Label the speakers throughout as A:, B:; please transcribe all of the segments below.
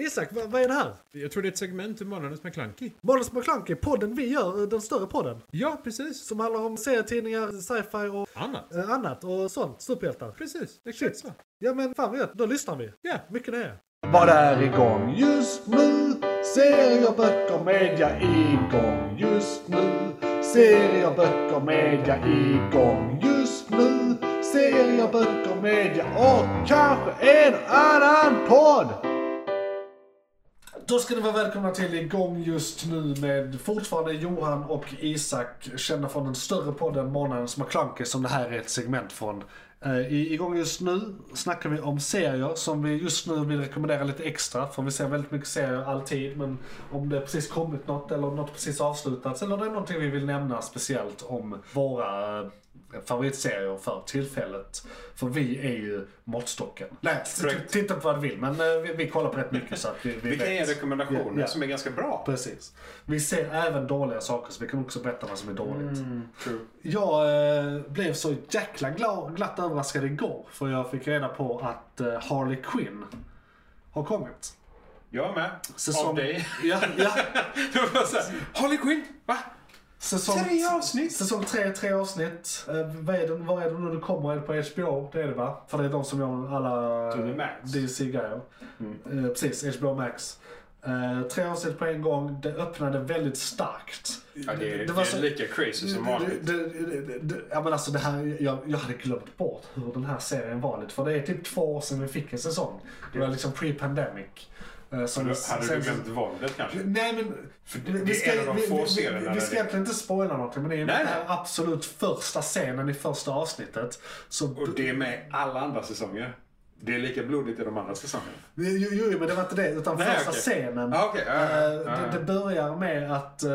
A: Isak, vad, vad är det här?
B: Jag tror det är ett segment ur Månadens McKlunky.
A: Månads McKlunky, podden vi gör, eh, den större podden.
B: Ja, precis.
A: Som handlar om serietidningar, sci-fi och
B: Annat.
A: eh, annat och sånt. Superhjältar.
B: Precis, exakt så.
A: Ja men fan vad gött, då lyssnar vi.
B: Ja.
A: Mycket det är.
C: Vad är igång just nu? Serier, böcker, media igång just nu. Serier, böcker, media igång just nu. Serier, böcker, media och kanske en annan podd. Då ska ni vara välkomna till igång just nu med fortfarande Johan och Isak, kända från den större podden Månadens McKlunky som det här är ett segment från. Eh, I igång just nu snackar vi om serier som vi just nu vill rekommendera lite extra för vi ser väldigt mycket serier alltid men om det precis kommit något eller om något precis avslutats eller om det är någonting vi vill nämna speciellt om våra eh, favoritserier för tillfället. För vi är ju måttstocken. Nej, t- t- titta på vad du vill men eh, vi, vi kollar på rätt mycket så att vi, vi
D: Vi kan ge
C: vet.
D: rekommendationer
C: Ja, ja.
D: som är ganska bra.
C: Precis. Vi ser även dåliga saker så vi kan också berätta vad som är dåligt.
D: Mm, True.
C: Jag eh, blev så jäkla gla- glatt överraskad igår för jag fick reda på att eh, Harley Quinn har kommit.
D: Jag med. Av dig.
C: Ja, ja.
D: Det var så här, Harley Quinn? Va?
C: Säsong,
D: Tre avsnitt.
C: Säsong 3, tre avsnitt. Eh, vad är det, vad är det nu det kommer? Är det på HBO? Det är det va? För det är de som gör alla
D: To the max.
C: DC-grejer.
D: Mm.
C: Eh, precis, HBO Max. Eh, tre avsnitt på en gång. Det öppnade väldigt starkt.
D: Ja, det är, det
C: var
D: är
C: så-
D: lika crazy som
C: Det,
D: vanligt.
C: det, det, det, det, ja men alltså det här, jag, jag hade glömt bort hur den här serien var lite. För det är typ två år sedan vi fick en säsong. Det var liksom pre-pandemic. Eh, som
D: Hade
C: sen-
D: hade du
C: sen-
D: glömt våldet kanske?
C: Nej men,
D: det- det är en av de
C: vi,
D: få
C: vi,
D: serierna
C: vi, vi
D: där
C: ska
D: det-
C: egentligen inte spoila någonting men det är ju
D: Nej,
C: den
D: nej.
C: här absolut första scenen i första avsnittet. Så
D: Och det är med alla andra säsonger. Det är lika blodigt i de andra säsongerna.
C: Jo, jo, men det var inte det. Utan
D: Nej,
C: första
D: okej.
C: scenen.
D: Ah, okej, ja, ja,
C: eh,
D: ja, ja.
C: det, det börjar med att eh,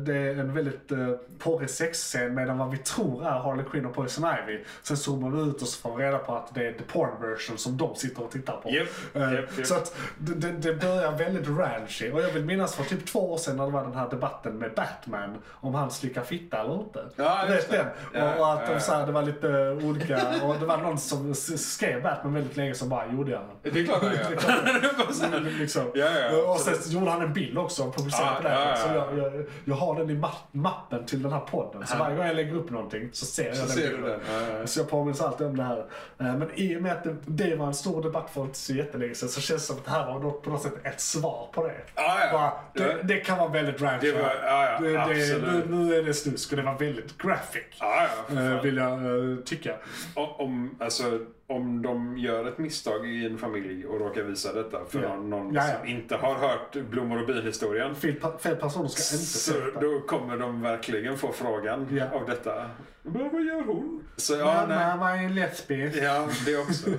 C: det är en väldigt eh, porrig sexscen medan vad vi tror är Harley Quinn och Poison Ivy. Sen zoomar vi ut och så får vi reda på att det är the porn version som de sitter och tittar på.
D: Japp,
C: Eh,
D: japp, japp.
C: Så att det, det, det börjar väldigt ranchy. Och jag vill minnas för typ två år sedan när det var den här debatten med Batman om han slickar fitta eller inte.
D: Ja,
C: Du vet
D: just det.
C: den?
D: Ja,
C: och, och att
D: ja.
C: de, så här, det var lite olika, och det var någon som s- skrev Batman väldigt länge som bara gjorde jag.
D: Det är klart han gör. Det var så här,
C: Liksom.
D: Ja, ja,
C: och sen gjorde han en bild också och publicerade
D: Ja,
C: på det.
D: ja, ja.
C: Så jag, jag, jag har den i ma- mappen till den här podden. Så varje gång jag lägger upp någonting så ser jag
D: Så
C: den
D: ser du
C: bilden.
D: den. Ja, ja.
C: Så jag påminns alltid om det här. Eh, Men i och med att det, det var en stor debatt för inte så jättelänge sedan så känns det som att det här var något- på något sätt ett svar på det.
D: Ja, ja.
C: Bara, det,
D: Ja.
C: det kan vara väldigt ranchy.
D: Det var- ja, ja,
C: Det- det- nu,
D: absolut.
C: nu är det snusk och det var väldigt graphic.
D: Ja, ja, för
C: eh,
D: fan.
C: vill jag eh, tycka.
D: O- Om, alltså, om de gör ett misstag i en familj och råkar visa detta för
C: Ja.
D: någon
C: Ja, ja.
D: som inte har hört blommor och bin-historien.
C: Fel, fel personer ska inte
D: Så
C: se detta.
D: då kommer de verkligen få frågan
C: Ja.
D: av detta. Men vad gör hon? Så ja, nej.
C: Mamma, man är lesbisk.
D: Ja, det också.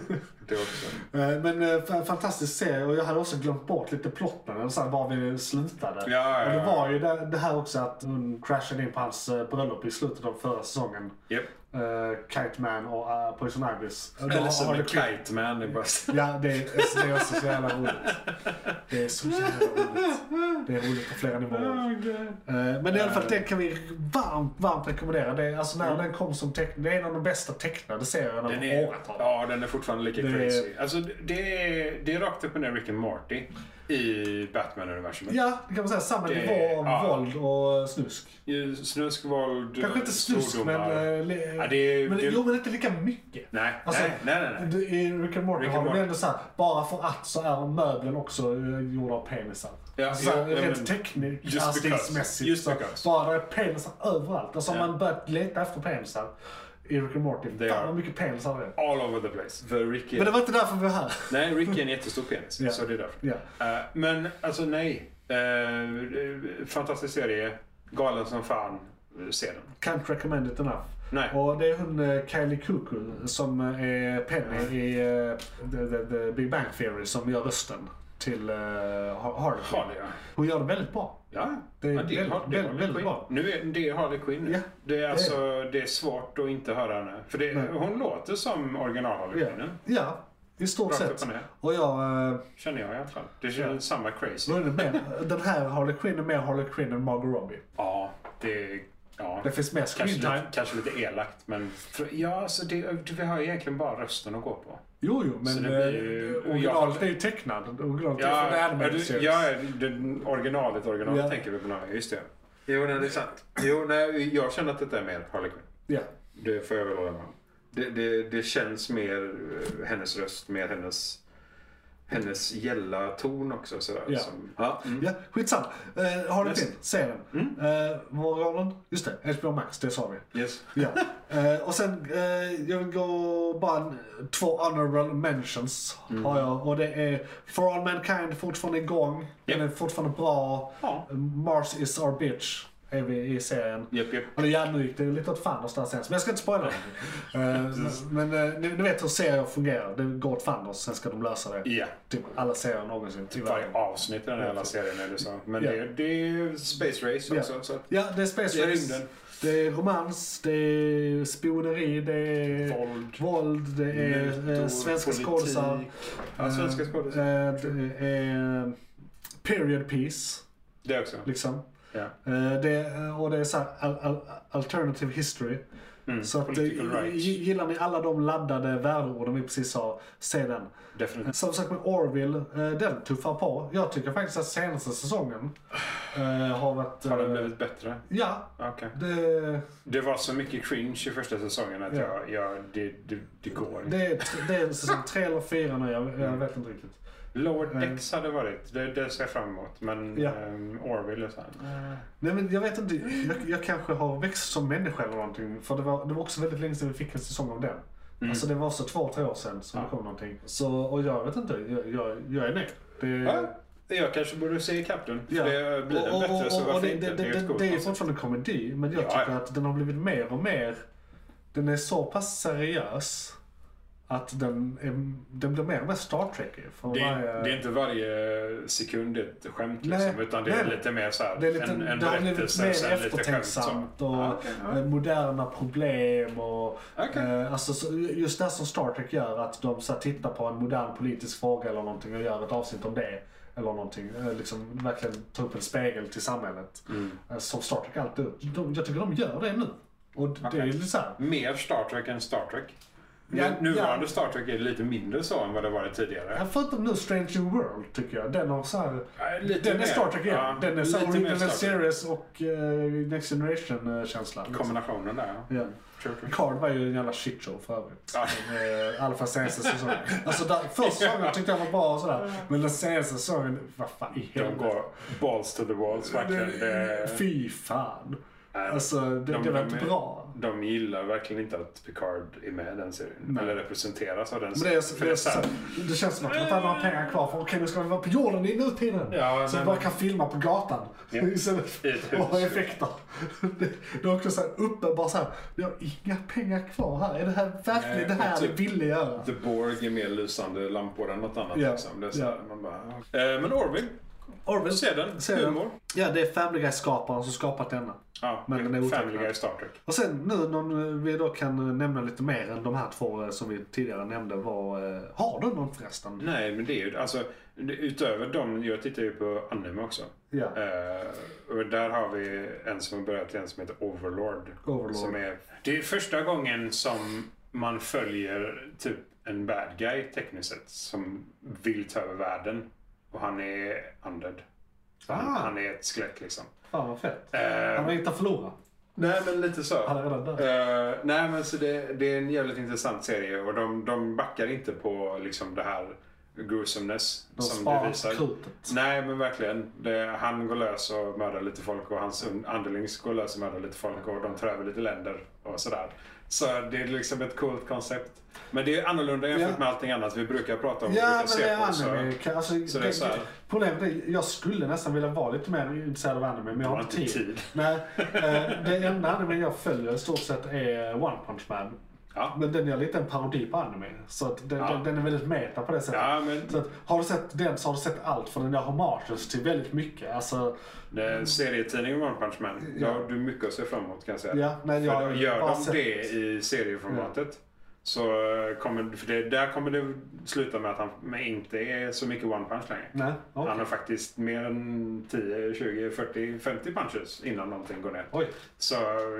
D: Det också.
C: Eh, Men eh, f- fantastisk serie och jag hade också glömt bort lite plotten, eller så här, var vi slutade.
D: Ja, ja,
C: och det
D: ja.
C: var ju det, det här också att hon crashade in på hans eh, bröllop i slutet av förra säsongen.
D: Japp.
C: Eh, Kite Man och uh, Poison Ibis. Och då
D: Eller
C: har
D: som
C: det
D: en
C: klippt.
D: kite man. Det är bara...
C: Ja, det är, det är också så jävla roligt. Det är så jävla roligt. Det är roligt på flera nivåer.
D: Oh
C: Eh, Men i alla fall, den kan vi varmt, varmt rekommendera. Det är, alltså, när
D: Mm.
C: den kom som tecknad, det är en av de bästa tecknade serierna
D: Den
C: på
D: är,
C: åratal.
D: ja, den är fortfarande lika
C: Det är-
D: crazy. Alltså, det, är, det är rakt upp och ner Rick and Morty i Batman-universumet.
C: Ja, det kan man säga. Samma
D: Det-
C: nivå av
D: ja.
C: våld och eh, snusk.
D: Ju Snusk, våld,
C: Kanske inte snusk, men...
D: svordomar.
C: eh, le-
D: Ja, det är-
C: men
D: det-
C: jo, men inte lika mycket.
D: Nej, nej, nej, nej, nej.
C: det- I Rick and Morty
D: Rick
C: har
D: and
C: de
D: Morty.
C: ändå såhär, bara för att så är möblen också eh, gjorda av penisar. Alltså,
D: Ja,
C: så här,
D: ja, ja,
C: rent
D: men-
C: tekniskt,
D: Just
C: stilsmässigt.
D: because. Just
C: så
D: because.
C: Bara det är penisar överallt. Alltså
D: Ja.
C: har man börjat leta efter penisar i Rick and Morty.
D: Det
C: Fan
D: är-
C: vad mycket penisar det är.
D: All over the place. För Rick är...
C: Men det var inte därför vi var här.
D: Nej, Rick är en jättestor penis.
C: Ja.
D: Så det är därför.
C: ja.
D: Eh, men alltså nej. Eh, fantastisk serie. Galen som fan. Se den.
C: Can't recommend it enough.
D: Nej.
C: Och det är hon eh, Kylie Cuoco som eh, är Penny i eh, the, the, the Big Bang Theory som gör rösten till eh, Har- Harley.
D: Harley, ja.
C: Hon gör det väldigt bra.
D: Ja,
C: Det är
D: ja,
C: väldigt-
D: Harley-
C: väldigt-
D: Harley
C: väldigt
D: Quinn.
C: bra.
D: Nu är det är Harley Quinn. nu.
C: Ja,
D: det,
C: är
D: är alltså, det är svårt att inte höra henne. För det,
C: Nej.
D: hon låter som original Harley
C: Ja,
D: Quinn.
C: ja i stort
D: Rakt upp
C: sett.
D: och ner.
C: Och jag... Eh,
D: Känner jag i alla fall. Det känns
C: Ja.
D: samma crazy.
C: vad är det mer? den här Harley Quinn är mer Harley Quinn än Margot Robbie.
D: Ja, det... Ja.
C: Det finns mer
D: Kanske
C: screen time.
D: lite, kanske lite elakt, men... För, ja, alltså det, vi har egentligen bara rösten att gå på.
C: Jo, jo,
D: Så
C: men
D: det blir ju-
C: eh, originalet är ju tecknad. Originalet är från
D: Ja,
C: Anime
D: ja, du,
C: Series.
D: ja den originalet, originalet
C: Ja.
D: tänker vi på nu. Just det. Jo, nej, det är sant. Jo, nej, jag känner att detta är mer Harley Quinn.
C: Ja.
D: Det får jag väl hålla med om. det, det, det känns mer eh, hennes röst, mer hennes, hennes gälla ton också. Sådär,
C: Ja.
D: Som, ja, mm.
C: Ja, skitsamma. Eh, har du
D: Yes. Mm.
C: yes. Se den. Eh, morgonen. Just det, HBO Max, det sa vi.
D: Yes.
C: Ja. Eh, och sen, eh, jag vill gå bara en- två honorable mentions
D: Mm.
C: har jag. Och det är For All Mankind fortfarande igång. Den
D: Ja.
C: är fortfarande bra.
D: Ja.
C: Mars is our bitch är vi i serien.
D: Japp, japp.
C: Eller ja, nu gick det ju lite åt fanders där sen, så jag ska inte spoila det. Eh, men eh, ni, ni vet hur serier fungerar. Det går åt fanders, sen ska de lösa det.
D: Ja.
C: Typ alla serier någonsin, typ
D: Varje
C: tyvärr.
D: avsnitt i den här jävla serien är det så. Men
C: Ja.
D: det, är- det är ju Space Race
C: Ja.
D: också. Så att
C: Ja, det är space
D: Det är
C: race.
D: rymden.
C: Det är romans, det är spioneri, det är
D: Våld.
C: våld, det är eh,
D: mutor,
C: svenska
D: politik.
C: skådisar.
D: Ja, svenska
C: Eh,
D: skådisar.
C: eh, Det är eh, period piece,
D: Det också.
C: liksom.
D: Ja.
C: Eh, Det, och det är så här, al- al- alternative history.
D: Mm.
C: Så att, eh,
D: Political
C: gi-
D: rights.
C: gillar ni alla de laddade värdeorden vi precis sa, se den.
D: Definitivt.
C: Som sagt med Orville, eh, den tuffar på. Jag tycker faktiskt att senaste säsongen eh, har varit...
D: Har den
C: eh,
D: blivit bättre?
C: Ja,
D: Okej.
C: det,
D: Det var så mycket cringe i första säsongen att
C: Ja.
D: jag, jag, det, det, det går inte.
C: det, är, tr- det är säsong tre eller fyra nu, jag, jag vet inte riktigt.
D: Lower Decks hade varit, det, det ser jag fram emot. Men
C: Ja.
D: ehm, Orville är såhär...
C: Nej men jag vet inte, jag, jag kanske har växt som människa eller någonting. För det var, det var också väldigt länge sedan vi fick en säsong av den. Alltså det var så två, tre år sedan som det
D: Mm. Ja.
C: kom någonting. Så, och jag vet inte, jag, jag, jag är nöjd. Det,
D: Ja, jag kanske borde se ikapp den.
C: Eh. Ja.
D: Det blir den
C: Och- och-
D: bättre så
C: och- och
D: varför
C: det-
D: inte?
C: det-
D: är
C: det-
D: ett coolt
C: Det är ju
D: koncept.
C: fortfarande komedi, men jag
D: Ja,
C: tycker
D: ja.
C: att den har blivit mer och mer... Den är så pass seriös att den, är, den blir mer och mer Star Trek för
D: Det
C: varje-
D: är, det är inte varje sekund ett skämt
C: Nej,
D: liksom, utan det är
C: nej.
D: lite mer så här,
C: Det är lite,
D: en, en
C: det har blivit
D: berättelse och
C: mer
D: sen lite skämt. som-
C: eftertänksamt och
D: Ja, okej, ja.
C: eh, moderna problem och
D: Okej.
C: eh, alltså, så- just det som Star Trek gör att de så här, tittar på en modern politisk fråga eller någonting och gör ett avsnitt om det. Eller någonting. Eh, Liksom verkligen ta upp en spegel till samhället.
D: Mm.
C: Eh, Som Star Trek alltid gjort. de, Jag tycker de gör det nu. Och d- det är
D: Okej.
C: lite såhär.
D: Mer Star Trek än Star Trek. Nu-
C: Ja,
D: Nuvarande
C: ja.
D: Star Trek är lite mindre så än vad det varit tidigare.
C: eh, Förutom nu Strange New World tycker jag. Den har såhär.
D: Ja, lite
C: Den är
D: mer.
C: Star Trek igen.
D: Ja,
C: den är såhär
D: lite mer
C: Original
D: Star Trek.
C: Series och eh, Next Generation eh, känsla. liksom.
D: Kombinationen där ja.
C: Ja.
D: True, true.
C: Card var ju en jävla shitshow för övrigt. Alltså,
D: Ja.
C: Med, I alla fall senaste säsongen. Alltså där, första säsongen tyckte jag var bra och sådär. Men den senaste säsongen, vad fan i
D: De
C: helvete.
D: går balls to the walls verkligen. Det,
C: Fy fan.
D: Nej.
C: Alltså det,
D: De-
C: det var
D: de
C: inte
D: är-
C: bra.
D: de gillar verkligen inte att Picard är med i den serien. Eller representeras av den
C: Men det, är, så-
D: För
C: det, är
D: så
C: så,
D: här-
C: det känns som att man inte har några pengar kvar för okej nu ska vi vara på jorden i nutiden.
D: Ja,
C: så vi
D: men-
C: bara kan filma på gatan.
D: Ja.
C: Istället för
D: I ett
C: att ha
D: hus.
C: effekter. Det, det är också så här uppenbart såhär, vi har inga pengar kvar här. Är det här verkligen
D: Nej,
C: det här
D: och
C: vi
D: typ-
C: ville göra?
D: The Borg är mer lysande lampor än något annat.
C: Ja,
D: Liksom. Det är så här,
C: ja.
D: man bara, eh, men Orville,
C: Orville.
D: se den.
C: Ser den.
D: Humor.
C: Ja, det är Family Guy-skaparen som skapat denna.
D: Ja,
C: Men den är
D: Family
C: otecknad.
D: Guy Star Trek.
C: Och sen nu när vi då kan eh, nämna lite mer än de här två eh, som vi tidigare nämnde var... eh, Har du någon förresten?
D: Nej, men det är ju alltså det- utöver dem. Jag tittar ju på anime också.
C: Ja.
D: Eh, och där har vi en som har börjat igen som heter Overlord.
C: Overlord.
D: Som är, det är första gången som man följer typ en bad guy tekniskt sett som vill ta över världen. Och han är undead. Så Han,
C: Ah.
D: han är ett skelett liksom.
C: Fan vad fett.
D: Eh,
C: Han har inte förlorat.
D: Nej, men lite så.
C: Han är redan död.
D: Eh, nej, men så det, det är en jävligt intressant serie och de, de backar inte på liksom det här gruesomeness
C: De
D: som
C: sparar
D: du visar.
C: krutet.
D: Nej, men verkligen. Det, han går lös och mördar lite folk och hans un- underlings går lös och mördar lite folk och de tar över lite länder och sådär. Så det är liksom ett coolt koncept. Men det är annorlunda jämfört
C: Ja.
D: med allting annat vi brukar prata om. och
C: Ja,
D: brukar
C: men det är
D: på, så-
C: anime. Kan- Alltså,
D: så det är
C: det,
D: så här.
C: problemet är, jag skulle nästan vilja vara lite mer intresserad av anime, men jag har
D: har
C: inte tid.
D: inte tid.
C: Nej, eh, det enda anime jag följer i stort sett är One Punch Man.
D: Ja.
C: Men den är lite en parodi på anime. Så att den,
D: Ja.
C: den, den är väldigt meta på det sättet.
D: Ja, men-
C: så att, har du sett den så har du sett allt, för den gör homages till väldigt mycket. Alltså,
D: Eh, Serietidningen One Punch Man. Ja.
C: Ja.
D: du har mycket att se fram emot kan jag säga.
C: Ja, nej,
D: För
C: jag
D: då
C: har
D: gör
C: bara
D: de
C: sett-
D: det i serieformatet så eh, kommer, för det, där kommer det sluta med att han men inte är så mycket One Punch längre.
C: nej. okej.
D: Han har faktiskt mer än 10, 20, 40, 50 punches innan någonting går ner.
C: Oj,
D: Så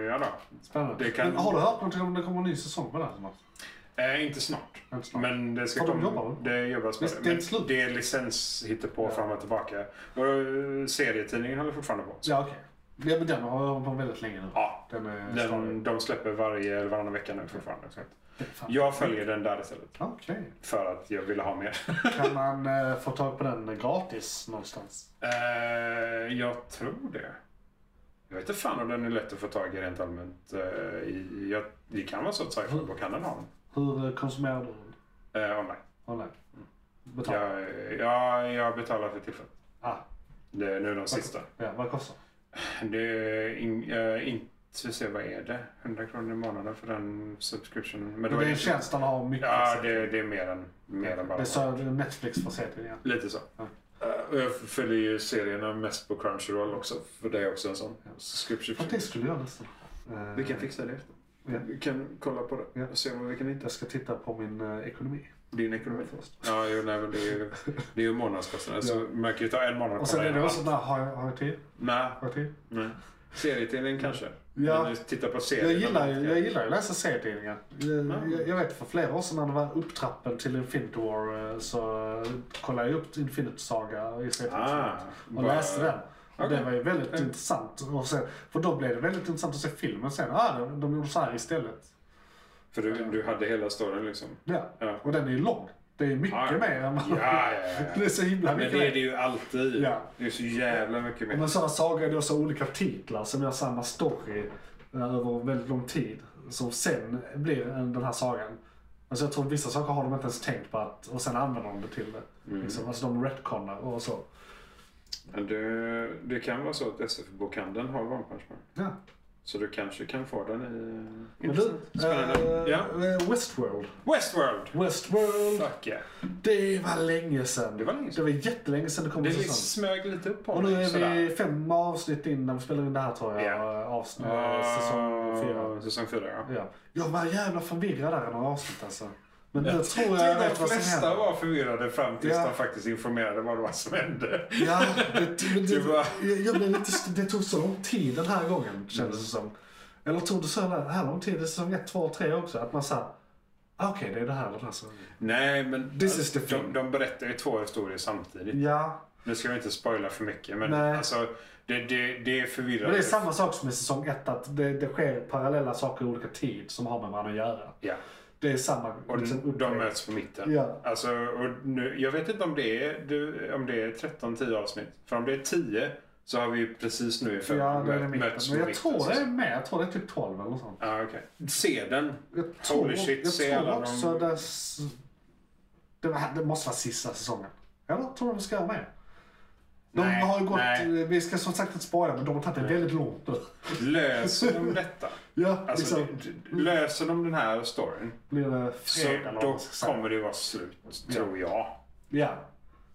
D: ja då.
C: spännande.
D: Det kan-
C: Men har du hört någonting om det kommer en ny säsong på den? här?
D: Eh, inte snart.
C: Inte snart.
D: Men det ska
C: Ja, de
D: komma-
C: jobbar väl?
D: Det jobbas med
C: Visst, det är
D: det. Men
C: inte slut.
D: det är licens på fram och tillbaka. Och eh, serietidningen håller fortfarande på. Så.
C: Ja, okej. Ja, men den har jag hållit på väldigt länge nu.
D: Ja.
C: Den eh, är
D: Den,
C: stadig.
D: de släpper varje eller varannan vecka nu fortfarande. Så. att-
C: Fan.
D: Jag följer den där istället.
C: Okej.
D: För att jag ville ha mer.
C: Kan man eh, få tag på den gratis någonstans?
D: Eh, jag tror det. Jag vet inte fan om den är lätt att få tag i rent allmänt. Eh, i, jag, det kan vara så att sci-fi på kan den ha den.
C: Hur eh, konsumerar du den?
D: Eh, online.
C: Online? Mm. Betala?
D: Jag, jag, jag betalar för tillfället.
C: Ah,
D: Det är nu de sista.
C: ja, vad kostar
D: Det är in, eh, inte, ska se, vad är det? 100 kronor i månaden för den subscriptionen. Men
C: den?
D: då
C: Det
D: är
C: är en
D: det,
C: tjänst den har mycket.
D: ja, det, det är mer än, mer än bara
C: det är så Netflix får se till igen.
D: Lite så.
C: Ja.
D: Eh, och jag följer ju serierna mest på Crunchyroll också. För det är också en sån.
C: Ja.
D: Subscription.
C: Fast det skulle jag nästan. Eh,
D: Vi kan fixa det efter.
C: Ja.
D: Vi kan kolla på det
C: Ja.
D: och se vad vi kan hitta.
C: Jag ska titta på min eh, ekonomi.
D: Din ekonomi först. Ja, jo, nej, men det är ju, det är ju månadskostnader. Så man kan ju ta en månad
C: Och sen
D: kolla
C: är det
D: igenom
C: också där, har jag, har jag tid?
D: allt. Nej,
C: Har jag tid?
D: nej. Serietidningen kanske.
C: Ja.
D: Men titta på
C: Jag
D: serien.
C: gillar, ju- jag gillar ju att läsa serietidningar. Jag, jag, jag vet för flera år sedan när det var upptrappen till Infinity War eh, så eh, kollade jag upp Infinity Saga i serietidningar.
D: Ah,
C: och
D: bara-
C: läste den. Och
D: Okej.
C: Det var ju väldigt intressant. Och sen, för då blev det väldigt intressant att se filmen sen. Ah, de, de gjorde så här istället.
D: För du, du hade hela storyn liksom.
C: Ja.
D: Ja.
C: Och den är ju lång. Det är mycket
D: Ja.
C: mer än vad...
D: Ja, ja, ja, ja.
C: Det är så himla
D: Men
C: mycket
D: det är
C: mer.
D: det ju alltid.
C: Ja.
D: Det är så jävla mycket mer.
C: Men sådana sagor är det också olika titlar som gör samma story eh, över väldigt lång tid. Som sen blir en- den här sagan. Alltså jag tror att vissa saker har de inte ens tänkt på att, och sen använder de det till det. Liksom, alltså de retconnar och så.
D: Men det, det kan vara så att SF-bokhandeln har One Punch Man.
C: Ja.
D: Så du kanske kan få den i...
C: Men du,
D: Spännande.
C: eh,
D: Ja.
C: eh, Westworld.
D: Westworld!
C: Westworld.
D: Fuck yeah.
C: Det var länge sedan.
D: Det var länge
C: Det
D: sedan.
C: var jättelänge sedan det kom en
D: Det
C: säsong.
D: liksom smög lite upp på
C: Och nu
D: mig.
C: är
D: sådär.
C: vi fem avsnitt in när vi spelar in det här tror jag.
D: Ja.
C: eh, Avsnitt,
D: Ja,
C: säsong fyra.
D: Säsong fyra, ja.
C: Ja. Jag var jävla förvirrad där i några avsnitt alltså. Men nu tror jag jag
D: De
C: vet vad som
D: flesta
C: händer.
D: var förvirrade fram tills
C: Ja.
D: de faktiskt informerade vad det var som hände.
C: Ja, det, men det,
D: Du bara-
C: jag, jag blev lite, st- det tog så lång tid den här gången kändes det som. Eller tog det så här, här lång tid i säsong 1, 2 och 3 också? Att man sa, ah, okej det är det här den här säsongen.
D: Nej, men
C: This is the
D: Alltså, de,
C: thing.
D: de berättar ju två historier samtidigt.
C: Ja,
D: Nu ska vi inte spoila för mycket, men
C: Nej.
D: alltså, det, det, det är förvirrande.
C: men det är samma sak som i säsong 1 att det, det sker parallella saker i olika tid som har med varandra att göra.
D: Ja.
C: Det är samma
D: Och
C: liksom,
D: Mm. de
C: upplägg.
D: möts på mitten.
C: Ja.
D: Alltså, och nu, jag vet inte om det är, du- om det är 13-10 avsnitt. För om det är 10 så har vi ju precis nu i fem
C: Ja, det är
D: mö-
C: det mitten.
D: möts på
C: Men jag
D: mitten,
C: tror
D: så-
C: det är med, jag tror det är typ 12 eller något sånt.
D: Ja, okej. Se den.
C: Jag tror,
D: Holy shit, se
C: jag tror
D: alla de-
C: också det, s- det, var, det måste vara sista säsongen. Eller tror du de ska göra mer? De
D: Nej,
C: har ju gått,
D: nej.
C: vi ska som sagt inte spoila, men de har tagit det väldigt långt nu.
D: Löser de detta?
C: Ja,
D: Alltså,
C: liksom,
D: d- d- löser de den här storyn
C: blir det
D: så
C: fredag eller vad
D: då
C: man ska säga.
D: kommer det vara slut, tror jag.
C: Ja.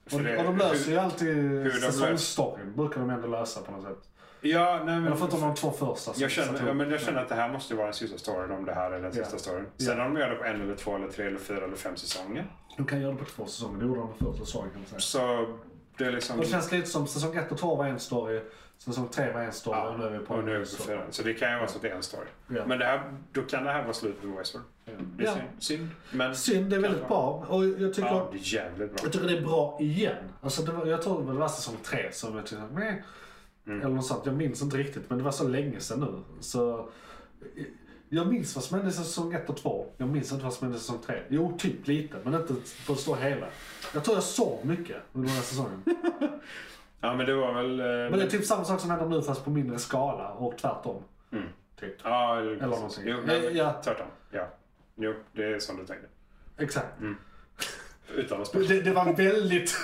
D: För
C: Och,
D: det-
C: och de löser ju alltid
D: de
C: säsongsstoryn, brukar de ändå lösa på något sätt.
D: Ja, nej, men,
C: Eller förutom de två första. som
D: Mm. jag,
C: satte
D: känner, ja,
C: ihop.
D: men jag känner att det här måste ju vara den sista storyn om det här är den
C: Ja.
D: sista storyn. Sen om de gör det på en eller två eller tre eller fyra eller fem säsonger.
C: De kan göra det på två säsonger, det gjorde de på första säsongen kan man säga.
D: Så det är liksom...
C: Det känns lite som säsong 1 och 2 var en story, säsong 3 var en story
D: Ja,
C: och nu är vi på
D: och nu är vi
C: så-
D: på fyran. Så det kan ju vara så att det är en story.
C: Ja.
D: Men det här, då kan det här vara slut med Westworld. Det är
C: Ja.
D: synd, synd. Men
C: Synd, det är väldigt bra. Och jag tycker,
D: ja, det är jävligt bra.
C: jag tycker det är bra igen. Alltså det var, jag tror det var säsong tre som jag tyckte, meh. Eller något sånt. Jag minns inte riktigt, men det var så länge sedan nu. Så, eh, jag minns vad som hände i säsong ett och två. Jag minns inte vad som hände i säsong tre. Jo, typ lite, men inte på det stora hela. Jag tror jag sov mycket under den här säsongen.
D: Ja, men det var väl... eh,
C: Men det är typ samma sak som händer nu fast på mindre skala och tvärtom. Typ.
D: Ja, eller,
C: Eller någonting.
D: Jo,
C: Eh,
D: nej,
C: ja.
D: tvärtom. Ja. Jo, det är som du tänkte.
C: Exakt.
D: Utan att spela.
C: Det, det var väldigt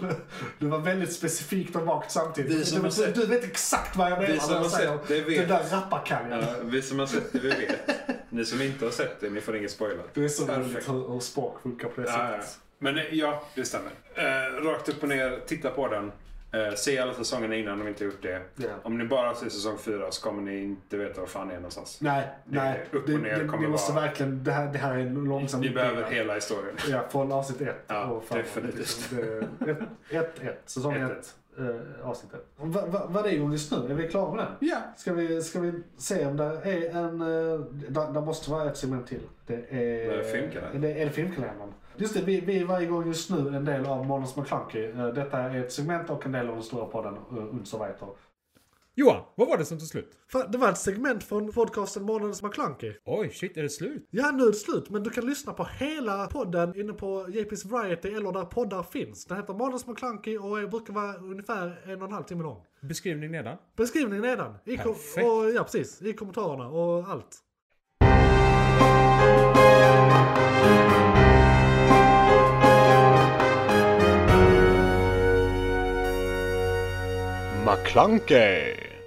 C: Det var väldigt specifikt och vagt samtidigt.
D: Vi som
C: du,
D: har
C: du,
D: sett-
C: du vet exakt vad jag menar
D: Vi som
C: när jag
D: har
C: säger
D: sett det
C: Den
D: vet.
C: där rapparkaljan.
D: Ja, vi som har sett det, vi vet. Ni som inte har sett det, ni får inget spoilat.
C: Det är så
D: Perfekt.
C: roligt hur, hur språk funkar på det
D: Ja, ja.
C: sättet.
D: Men eh, ja, det stämmer. Eh, rakt upp och ner, titta på den. Eh, se alla säsongerna innan om ni inte gjort det.
C: Ja.
D: Om ni bara ser säsong fyra så kommer ni inte veta var fan ni är någonstans.
C: Nej,
D: Det är
C: nej.
D: upp och
C: Det,
D: ner
C: det,
D: kommer
C: vi måste
D: vara-
C: verkligen, det här, det här är en långsam
D: Ni behöver
C: uppbyggnad.
D: hela historien.
C: Ja, från avsnitt ett
D: Ja,
C: och framåt.
D: definitivt.
C: Liksom. Det är ett- ett ett, säsong
D: Ett,
C: ett
D: ett.
C: eh, avsnittet. Va, va, vad är igång just nu? Är vi klara med den?
B: Ja.
C: Ska vi, ska vi se om det är en... eh, Där, där måste vara ett segment till. Det är...
D: Det är filmkalendern.
C: Det är filmkalendern. Just det, vi, vi är varje gång just nu en del av Månads McClunky. Eh, Detta är ett segment och en del av den stora podden eh, Unsurvator.
B: Johan, vad var det som tog slut?
A: Fan, det var ett segment från podcasten Månadens McKlunky.
B: Oj, shit, är det slut?
A: Ja, nu är det slut, men du kan lyssna på hela podden inne på JP's Variety eller där poddar finns. Den heter Månadens McKlunky och är- brukar vara ungefär en och en halv timme lång.
B: Beskrivning nedan.
A: Beskrivningen nedan. I kom-
B: Perfekt.
A: och, ja, precis. I kommentarerna och allt.
E: McClunkey.